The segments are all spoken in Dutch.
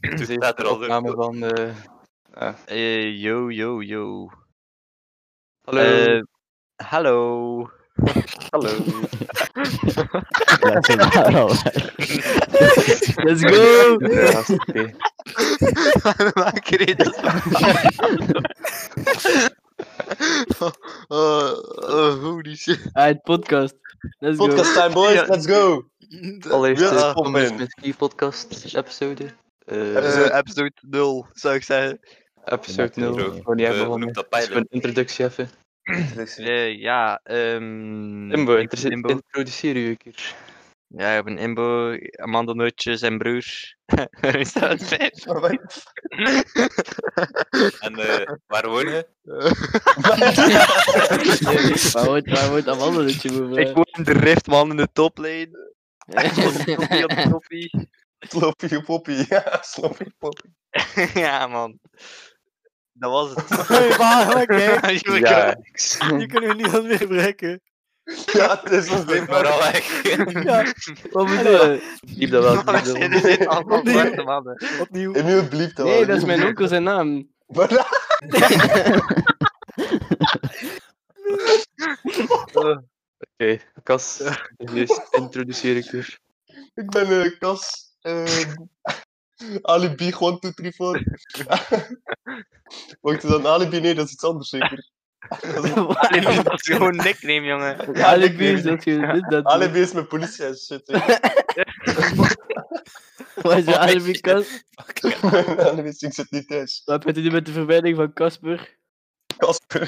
Toen Zeker staat Dus er de al opname de... van. eh, Eh, yo, yo, yo. hallo. Eh, hallo. hallo. That's a lot of- Let's go! Ja, dat is oké. Maak er iets oh, oh, holy shit. Alright, podcast. Let's go. Podcast time, boys. Let's go. Allereerst Ja, eh, de Tom kom in. Sminsky podcast episode. Eh, Episode- Eh, episode 0, zou ik zeggen. episode 0. Nul. Gewoon niet Eh, hebben hoe begonnen. noemt dat Dus pilot? Gewoon een introductie even. Eh, ja, ehm... Imbo, ik ben introdu- Imbo. introduceer u een keer. Ja, ik ben Imbo, amandelnootjes en broer. Is dat het vijf? En eh, waar woon je? Waar wordt, waar wordt Amandelletje voor? Ik woon in de Rift, man, in de toplane. Toppie op de toppie. Sloppy Poppy. Ja, Sloppy Poppy. ja, man. Dat was het. Hey, maar oké. Jullie Ja, kunnen- Je kunt er niemand meer breken. Ja, het is ons ding, Vooral maar weg. Ja, Wat bedoel je? diep dat wel. diep dat wel. Dit zijn allemaal Nee. zwarte mannen. opnieuw. Emiel blieft dat Nee, dat is mijn onkel zijn naam. Maar- Oké, Kas. Dus introduceer ik weer. Ik ben eh, Cas. eh alibi, 1, 2, 3, 4. Wacht, is dat een alibi? Nee, dat is iets anders zeker. Dat is- Dat is gewoon een nickname, jongen. Ja, Alle ik bier weet het. dat je dit dat Alibi is mijn politie en shit. weet Waar is de Alibi Kas? je. Alibi is, ik zit niet thuis. Wat heb je nu met de verwijdering van Casper? Casper.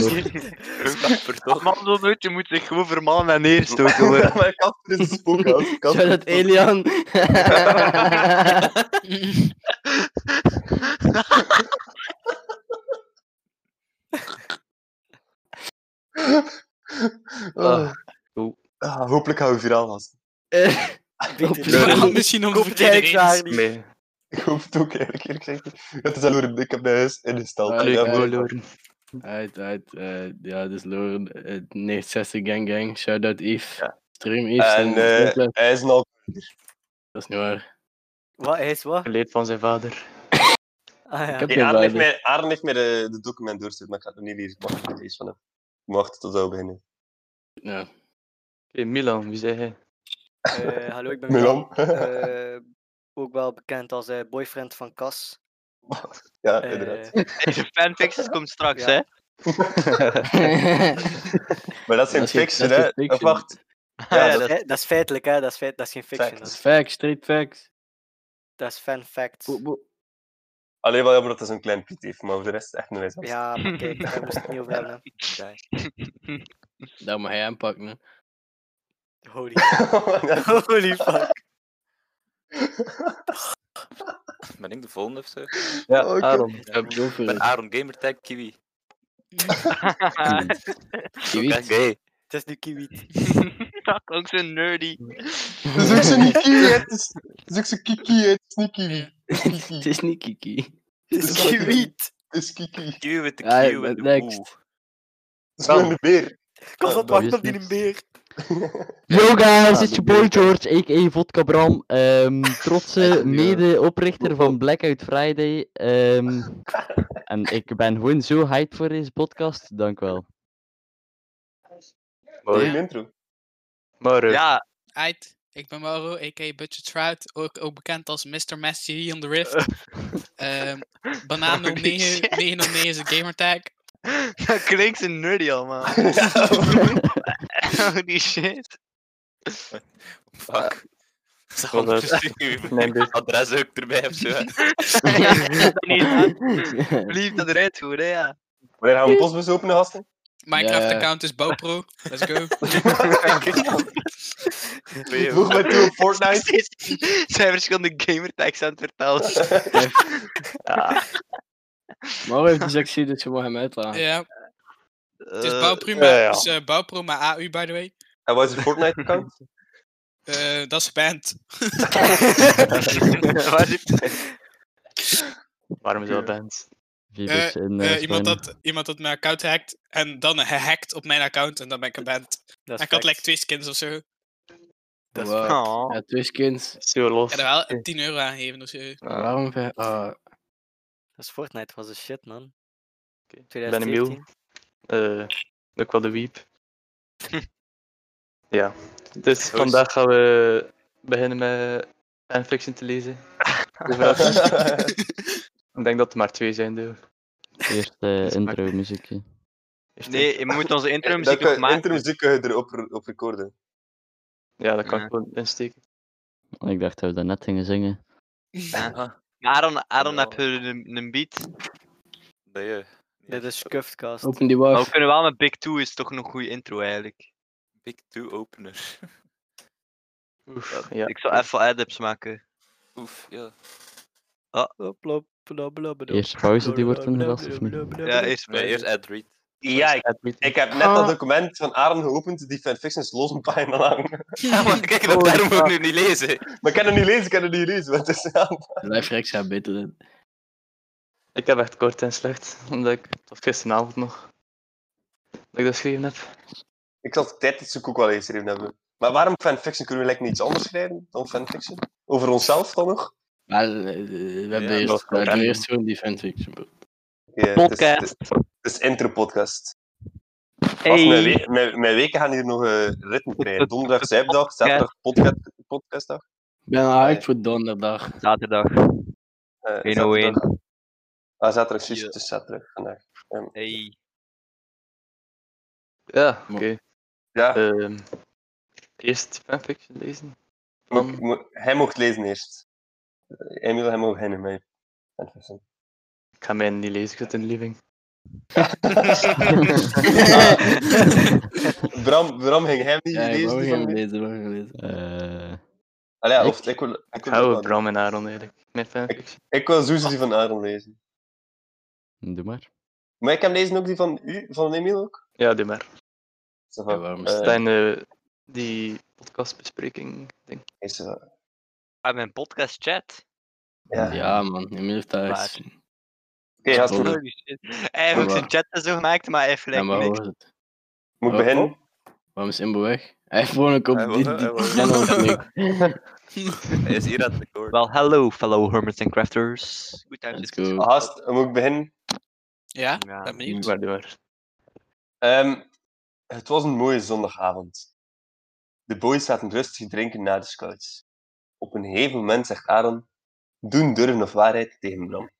Amandelnootje moet zich gewoon vermannen en neerstoten, hoor. Maar Casper is een spookhuis. Casper Zou dat is- Elian? Ah. Oeh. Ah, hopelijk gaan we viraal last. Vooral misschien om de Koop het verkeerde ineens. vraag niet. Nee, Ik hoop het ook eigenlijk eerlijk gezegd. Het is al een ik heb mijn huis ingesteld. Ah, Ja, leuk maar- hoor, Loren. Uit, uit. eh, ja, dit is Loren. eh, 69 Gang Gang. Shoutout Yves. Stream Yves. En eh, Dat hij is nou is niet waar. Wat hij is wat? Geleerd van zijn vader. Ah ja. Ik heb- Hey, Ja, Aaron heeft maar- mij, Aaron heeft mij de, de document doorgestuurd, maar ik ga het nog niet lezen. Ik mag niet lezen van hem. Ik wacht tot we beginnen. Ja. Oké, Milan, wie zei hij? Eh, hallo, ik ben Milan. Milan? Eh, ook wel bekend als eh, boyfriend van Kas. ja, Eh, inderdaad. De fanfictions komt straks, Ja. hè. Maar dat is geen dat is- fiction, dat hè? is fiction. Of wacht. Ja, Ja, dat, dat- is, fe- dat is feitelijk, hè? Dat is, feit, dat is geen fiction. Fact. Dat Dat is is, facts, straight facts. dat is fan facts. Bo- bo- Alleen wel jammer dat hij zo'n klein piet heeft, maar voor de rest is het echt een les. Ja, maar kijk, daar moest ik het niet over hebben. Dat moet hij aanpakken. hè. hè. Holy, Ja. holy fuck. Ben ik de volgende of zo? Ja, Oké. Aaron. Ja, ik bedoel voor Ik het. ben Aaron Gamertag Kiwi. Je Oké, weet, gay. Het is nu kiwi. Dat klonk zo nerdy. Het is ook zo'n kiwi, hè. het is- het is ook zo'n kiki, hè. het is niet kiwi. Het is Het kiki. is niet Kiki. Het is kiwi. Het is kiki. Kiwi with the Ja, Q maar en de next. oe. Het is gewoon een beer. Kas dat dat wacht is op die niks. beer. Yo guys, Ah, it's de your boy beer. George, a.k.a. Vodka Bram, ehm, trotse Ja. mede-oprichter van Blackout Friday. ehm, en ik ben gewoon zo hyped voor deze podcast, dank wel. Mooi intro. Maar eh, Ja, Ait, ik ben Mauro, a.k.a. Butcher Trout, ook, ook bekend als Mr. Mastery on the Rift. Ehm, Banaan Eh. Holy 09 shit. 909 is een gamertag. dat klinkt zo nerdy al, man. Holy shit. Fuck. Zal want eh, dat- ondertussen uw mijn beer. adres ook erbij of zo. hè? dat niet Lief dat eruit goed, hè, ja. Wanneer gaan we postbus openen, gasten? Minecraft Ja. account is Bouwpro. Let's go. Twee, Voeg mij toe op Fortnite. Steeds zijn verschillende gamertags aan het vertellen. Maar heeft dus ik zie dat je mag hem uitlaten. Ja, het is Eh, Bouwpro, maar, ja, ja. het is, eh, Bouwpro, maar AU, by the way. En wat is je Fortnite-account? Eh, dat is band. waar zit- Waarom is dat band? Vibes in, eh, Eh, iemand, Spanje. dat, iemand dat mijn account hackt en dan gehackt op mijn account en dan ben ik een band. Dat is ik had fact. like twee skins of zo. Dat is Wow. Oh. Ja, twee skins. Stuur los. Ik ga er wel 10 euro aan geven of zo. Waarom? ver- ah, Dus Fortnite was een shit, man. Oké, ik ben Emiel. 2017. Eh, ook wel de wiep. ja, dus vandaag gaan we beginnen met fanfiction te lezen. Ik denk dat er maar twee zijn, deel. Eerst eh, intro muziekje. Nee, je moet onze intro Dan muziek kun nog je, maken. interim kun je erop op recorden. Ja, dat kan Ja. ik gewoon insteken. Ik dacht dat we daarnet gingen zingen. Maar Aaron, Aaron Ja. heb je een, een beat. Nee, eh, Dit is Cuffedcast. Ah, open die Maar we wacht. kunnen wel met Big Two is toch een goede intro eigenlijk. Big Two opener. Oef, ja. Ik zal even add-ups maken. Oef, ja. Eerst pauze die wordt ingerast of niet? Ja, eerst Nee, bij. eerst Ed Reed. Ja, ik, Het moet- ik heb net Ah. dat document van Aaron geopend, die fanfictions los een pagina lang. Ja, maar kijk, dat daarom moet ik nu niet lezen. Maar ik kan het niet lezen, ik kan het niet lezen. Want het is aan. Live Rex gaat beter dan. Ik heb echt kort en slecht, omdat ik tot gisteravond nog dat ik dat geschreven heb. Ik zal de tijd dat ze ook wel geschreven hebben. Maar waarom fanfiction? Kunnen we lekker iets anders schrijven dan fanfiction? Over onszelf dan nog? Maar eh, we hebben nog eerst, we hebben random. eerst gewoon die fanfiction. bro. Ja, Het is, Podcast. het is, het is intro-podcast. Pas Mijn, Hey. we- mijn, mijn weken gaan hier nog eh ritme krijgen. Donderdag, zijpdag, zaterdag, podcast, podcastdag. Ik ben hyped voor donderdag. Zaterdag. eh, 101. zaterdag. Ah, zaterdag, zus, Ja. het is zaterdag vandaag. Hey. Ja, oké. Ja, Ehm, eerst fanfiction lezen. mo- mo- hij mocht lezen eerst. Eh, Emiel, hij mocht hen en mij. fanfiction. Ik ga mij niet lezen, ik zit in de living. Bram, Bram ging hem niet Ja, ik lezen. wou die geen van mij? lezen, wou geen lezen. Eh, Allee, ja, Ik- of, ik wil, ik Ik wil, ook hou wel- van Bram en Aaron eigenlijk. Mijn fanfiction. ik wil sowieso die van Aaron lezen. doe maar. Maar ik kan lezen ook die van u, van Emiel ook. Ja, doe maar. Ça va. Ja, waarom Eh, is dat? Stijn, eh, die podcastbespreking ding. is ça va. Ah, mijn podcast chat. Ja. Ja, man. Emil heeft daar Waar? iets. Oké, Ja, gast, Sorry. Holy shit. Hij heeft ook Maar- zijn chat en zo gemaakt, maar hij heeft Ja, gelijk maar niks. hoor het. moet ik Oh, beginnen? Waarom is Imbo weg? Hij heeft gewoon ook op Hij die, wil- die hij wil- channel geklikt. Hij is hier aan het record. Wel, hello fellow hermits and crafters. Goed uit. Let's go. Ah, Gast, moet ik beginnen? Ja, Ja. ben benieuwd. Maar doe maar. Ehm, het was een mooie zondagavond. De boys zaten rustig te drinken na de scouts. Op een gegeven moment zegt Aaron: Doen durven of waarheid tegen Bram.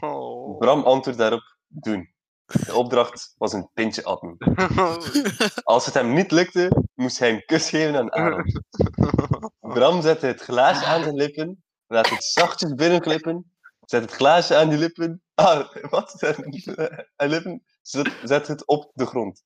Oh. Bram antwoordt daarop: Doen. De opdracht was een pintje atten. Als het hem niet lukte, moest hij een kus geven aan Aaron. Bram zette het glaasje aan zijn lippen, laat het zachtjes binnenglippen, zet het glaasje aan die lippen. Ah, wat? Zet, aan lippen, zet, zet het op de grond.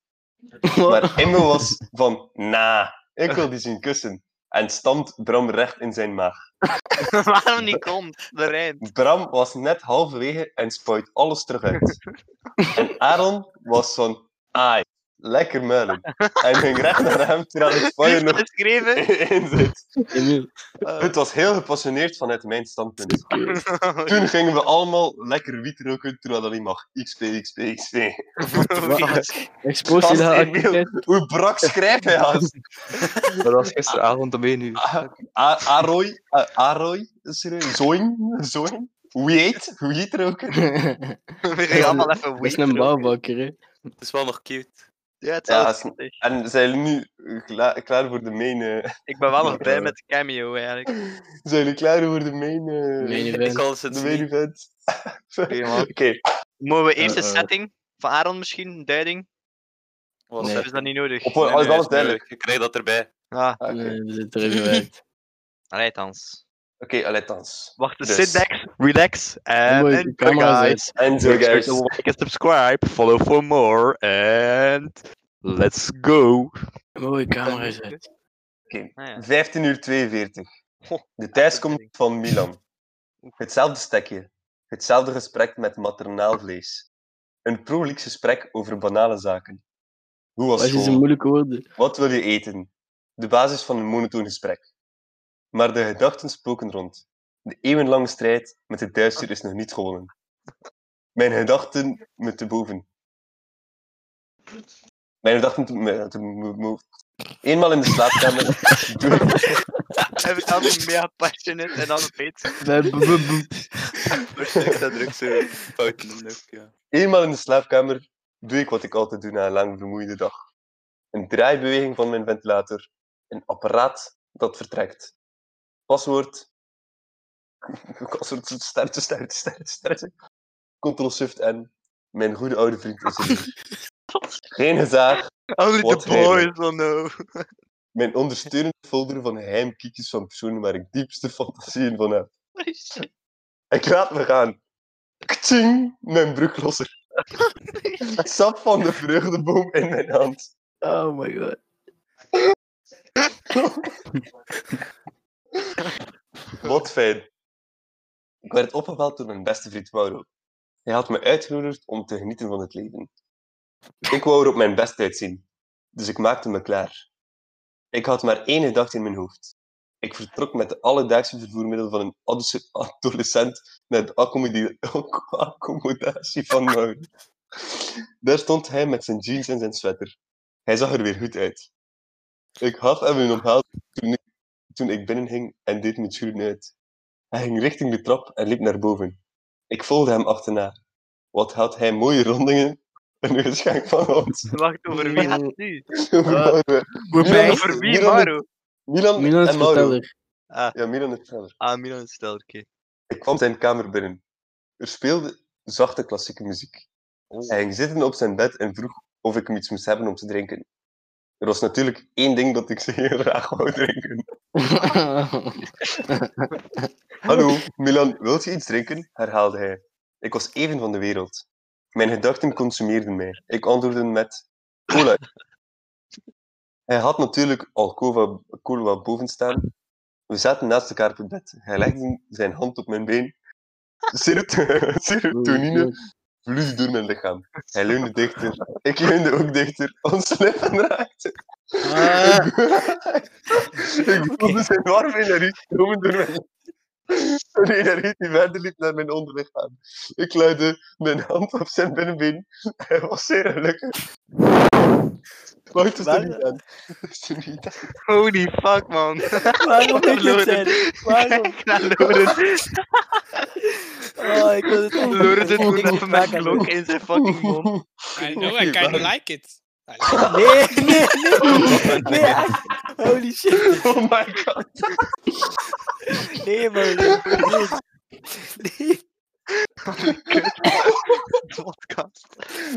Maar Immo was van, na, ik wil die zien kussen. En stampt Bram recht in zijn maag. Waarom niet komt? De rijm. Bram was net halverwege en spuit alles terug uit. En Aaron was van, ai, lekker muilen. En ging recht naar hem terwijl het spuien nog geschreven? Oh. in zit. Emil. Het was heel gepassioneerd vanuit mijn standpunt. Toen gingen we allemaal lekker wiet roken terwijl dat niet mag. XP, XP, XP. Expose je Gast, dat Emil. activiteit? Hoe brak schrijft hij haast? Dat was gisteravond om 1 uur. A- A- Aroy, A- Aroy, serieus, Zoin, Zoin, Weet, Weet roken. We gingen allemaal even Dat is weed een roken. bouwbakker, hè. Het is wel nog cute. Ja, het is Ja, wel als- schattig. En zijn jullie nu eh, kla- klaar voor de main? eh, Ik ben wel nog blij Ja. met de cameo eigenlijk. zijn jullie klaar voor de main? eh, Main event. Ik kan het de main niet. event. Oké, man. Oké, Moeten we eerst een Eh, eh. setting van Aaron misschien, een duiding? Wat Of Nee. is dat niet nodig? op Oh, alles alles duidelijk. Ik krijg dat erbij. Ah, Ah, Oké, Nee, We zitten er gewerkt. alright Hans. Oké, allee, thans. Wacht, Dus. sit back, relax, Emil, and je enjoy camera guys. zet. En zo, Make sure guys. to like and subscribe, follow for more, and let's go. Mooie camera zet. Ah, 15 uur 42. Goh, De thuis komt van Milan. Hetzelfde stekje. Hetzelfde gesprek met maternaal vlees. Een prolieks gesprek over banale zaken. Hoe was Wat is school? een moeilijke woorden? Wat wil je eten? De basis van een monotoon gesprek. Maar de gedachten spoken rond. De eeuwenlange strijd met het duister is nog niet gewonnen. Mijn gedachten me te boven. Mijn gedachten toen- me- toen mo- mo- Eenmaal in de slaapkamer. door- Heb ik altijd meer passionate en dan opeens. Waarschijnlijk staat er ook zo fout in de lucht, ja. eenmaal in de slaapkamer doe ik wat ik altijd doe na een lang vermoeide dag. Een draaibeweging van mijn ventilator. Een apparaat dat vertrekt. Paswoord. Paswoord sterretje, sterretje, sterretje, sterretje. Ctrl Shift N. Mijn goede oude vriend is er. Geen gezaag. Only Wat the boys will know. Mijn ondersteunende folder van heimkiekjes van personen waar ik diepste fantasieën van heb. Ik laat me gaan. Kting, mijn broeklosser. Sap van de vreugdeboom in mijn hand. Oh my god. Wat fijn. Ik werd opgebeld door mijn beste vriend Mauro. Hij had me uitgenodigd om te genieten van het leven. Ik wou er op mijn best uitzien, dus ik maakte me klaar. Ik had maar één gedachte in mijn hoofd. Ik vertrok met de alledaagse vervoermiddel van een adolesc- adolescent naar de accommodatie accommodatie van Mauro. Daar stond hij met zijn jeans en zijn sweater. Hij zag er weer goed uit. Ik had hem een omhaal toen ik, toen ik binnenging en deed mijn schoenen uit. Hij ging richting de trap en liep naar boven. Ik volgde hem achterna. Wat had hij mooie rondingen en een geschenk van ons. Wacht, over wie gaat het nu? Mauro. Waarbij. Over wie, Milan- Maru? Milan, Milan is en Mauro. verteller. Ah, Ja, Milan is verder. ah, Milan is stel, oké. Ik kwam zijn kamer binnen. Er speelde zachte klassieke muziek. Hij ging zitten op zijn bed en vroeg of ik hem iets moest hebben om te drinken. Er was natuurlijk één ding dat ik zeer graag wou drinken. Hallo, Milan, wilt je iets drinken? herhaalde hij. Ik was even van de wereld. Mijn gedachten consumeerden mij. Ik antwoordde met cola. Hij had natuurlijk al cola, cola boven staan. We zaten naast elkaar op het bed. Hij legde zijn hand op mijn been. Serot- Serotonine vloeide door mijn lichaam. Hij leunde dichter. Ik leunde ook dichter. Ons lippen raakten. Ik- ik voelde zijn warme energie stromen door mijn een energie die verder liep naar mijn onderlichaam. Ik luidde mijn hand op zijn binnenbeen. Hij was zeer gelukkig. Maar het is er niet aan. Het is er niet aan. Holy fuck, man. Waarom Kijk ik naar het zijn? Waarom? Kijk naar Loren. Oh, ik wil het echt niet. Loren zit Ik wil gewoon het even met maken, Glock in zijn fucking mond. I know, I kind of like it. I like Loek. Nee, nee, nee. Nee, echt. Holy shit. Oh my god. Nee, man. Nee. Nee. Podcast.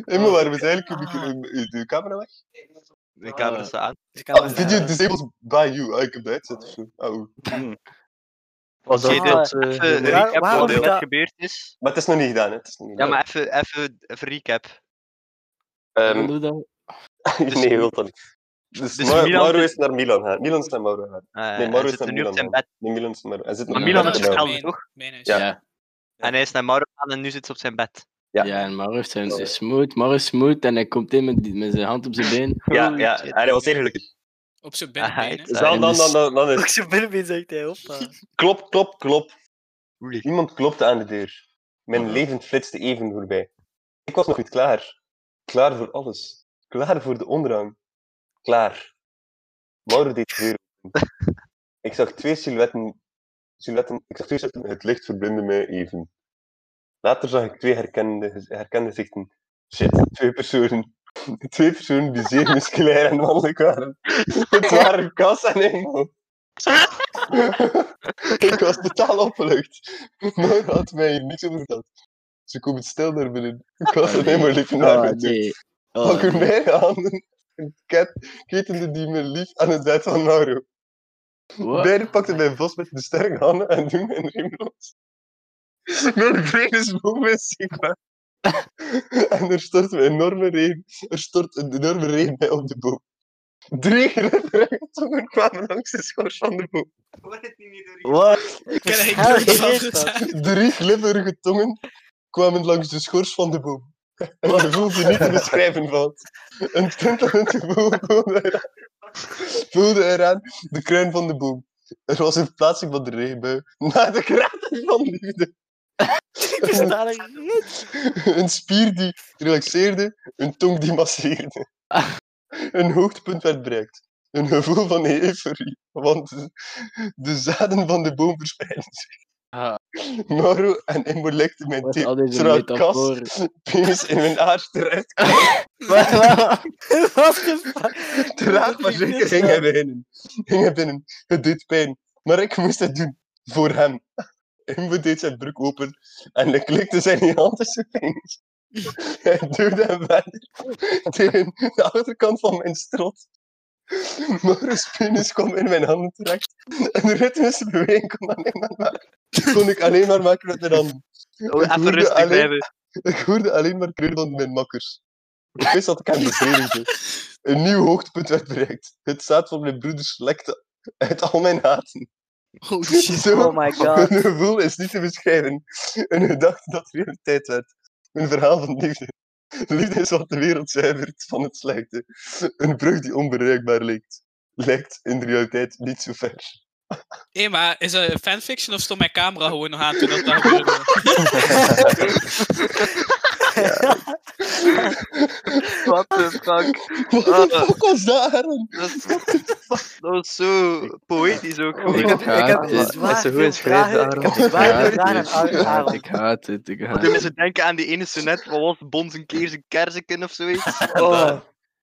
Emma, waarom is eigenlijk de, de, de camera weg? De camera staat aan. Ik Ah, kan video disables by you. Ah, ik heb de headset of zo. Oh. Was dat Oké, dat... eh, ah, Even helemaal- recap waarom wat er dat- net gebeurd is. Maar het is nog niet gedaan, hè. Het is nog niet Ja, gedaan. maar even, even, even recap. Eh, Ehm, Doe dat. dus- nee, je wilt dat niet. Dus, dus Mau- Milan Mauro zit- is naar Milan gaan. Milan is naar Mauro gaan. Eh, Nee, hij Mauro is zit naar er nu op Milan zijn gaan. bed. Nee, Milan is naar Hij zit Maar naar Milan Milan is gaan. verteld, Mijn- toch? Mijn huis. Ja. En hij is naar Mauro gegaan en nu zit ze op zijn bed. Ja. en Mar heeft zijn is smooth. Mar is smooth en hij komt in met, die- met zijn hand op zijn been. Ja, ja. En Ah, hij was heel gelukkig. Op zijn Ah, binnenbeen, hè. het- Dus Dan, dan, dan, dan, dan is Ook zijn binnenbeen zegt hij, hoppa. Klop, klop, klop. Oei. Iemand klopte aan de deur. Mijn leven flitste even voorbij. Ik was nog niet klaar. Klaar voor alles. Klaar voor de ondergang. Klaar. Mauro deed de deur open. Ik zag twee silhouetten, silhouetten. Ik zag twee silhouetten. Het licht verblindde mij even. Later zag ik twee herkende, herkende zichten. Shit, twee personen. Twee personen die zeer musculair en mannelijk waren. Het waren Cas en Ingo. Ik was totaal opgelucht. Nooit had mij hier niks over verteld. Ze komen stil naar binnen. Ik was alleen maar lief naar Oh, binnen. nee. Pak Oh, u mij aan. Een ket, ketende die me lief aan het bed van Nauru. what? Beiden pakten mij vast met de sterke handen en doen mijn riem los. Mijn been is boven mijn sigma. En er stort een enorme regen. Er stort een enorme regen bij op de boom. Drie ruggentongen kwamen langs de schors van de boom. Wat? Ik ken Hel, eigenlijk niks wat van is dit, dat? hè. Drie glibberige tongen kwamen langs de schors van de boom. Een gevoel die niet te beschrijven valt. Een tintelend gevoel voelde eraan, voelde eraan de kruin van de boom. Er was een plaatsing van de regenbui naar de kraten van liefde. Ik versta er niet. Een spier die relaxeerde, een tong die masseerde. Een hoogtepunt werd bereikt. Een gevoel van euforie, want de zaden van de boom verspreidden zich. Ah. Mauro en Imbo lekten mijn Met al tepels deze eruit kast, metaforen. penis in mijn aard terecht. Wat de fuck? Traag maar zeker ging hij binnen. Ging hij binnen. Het deed pijn, maar ik moest het doen. Voor hem. Imbo deed zijn broek open en ik klikte zijn hand tussen zijn vingers. Hij duwde hem verder tegen de achterkant van mijn strot. Maurits penis kwam in mijn handen terecht. Een ritmische beweging kon, alleen maar maken. kon ik alleen maar maken met mijn handen. Ik Oh, even hoorde rustig alleen- blijven. ik hoorde alleen maar kreunen van mijn makkers. Ik wist dat ik hem bevredigde. Een nieuw hoogtepunt werd bereikt. Het zaad van mijn broeders lekte uit al mijn haten. Oh shit. Zo, Oh my god. een gevoel is niet te beschrijven. Een gedachte dat realiteit werd. Een verhaal van liefde. Liefde is wat de wereld zuivert van het slechte. Een brug die onbereikbaar lijkt. Lijkt in de realiteit niet zo ver. Hé, maar is het fanfiction of stond mijn camera gewoon nog aan toen dat daar gebeurde? What the fuck? Wat de fuck was dat, Aaron? Dat is- dat was zo poëtisch ook Ik gewoon. heb- ik heb haat dit. zwaar Met zijn veel hoes schrijven, vragen. Ik Aaron. heb Ik zwaar veel haat vragen dit. Ik aan haat- Aaron. Ik haat dit. Ik haat Toen dit. mensen denken aan die ene sonnet, wat was het? Bons en keers en kerzenken of zoiets? Oh,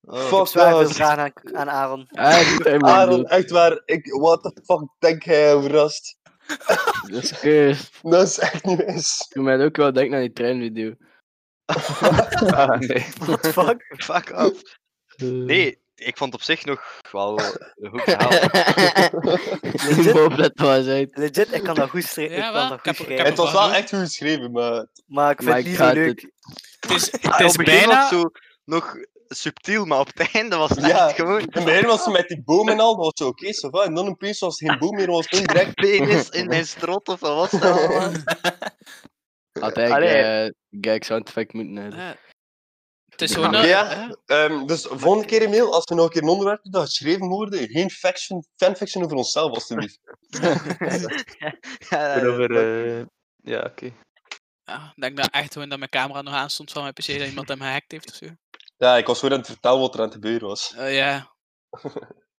Oh. Ah, fuck eh, Zwaar veel dat. vragen aan, aan Aaron. Ah, dit hebben we Aaron, niet. echt waar. Ik, what the fuck denk jij over Rast? Dat is cursed. Dat is echt niet mis. Doe mij ook wel denken aan die treinvideo. Ah, nee. What the fuck? Fuck off. Nee, ik vond op zich nog wel een goed verhaal. Die boven dat was uit. Legit, ik kan dat goed schrijven. Ja, ik wel, kan dat ik heb- goed ik schrijven. heb- Het was wel echt goed geschreven, maar... Maar ik vind Maar het ik niet zo haat dit. leuk. Het is, Ah, het is op het begin was bijna... het zo nog subtiel, maar op het einde was het Ja. echt gewoon In het begin was ze met die boom en al, dat was zo oké, zo En dan opeens was het geen boom meer, was het direct... penis in mijn strot of wat was dat allemaal? Had eigenlijk eh gag sound effect moeten hebben. Eh, Het is gewoon... Ja. eh, Nou, Ja. eh, Ehm, dus volgende keer, Emil, als we nog een keer een onderwerp hebben dat geschreven wordt, geen faction, fanfiction over onszelf, alstublieft. Ja, Over, eh, Ja, oké. ja, Ik denk dat echt gewoon dat mijn camera nog aan stond van mijn PC, dat iemand hem gehackt heeft of zo. Ja, ik was gewoon aan het vertellen wat er aan het gebeuren was. Eh, ja.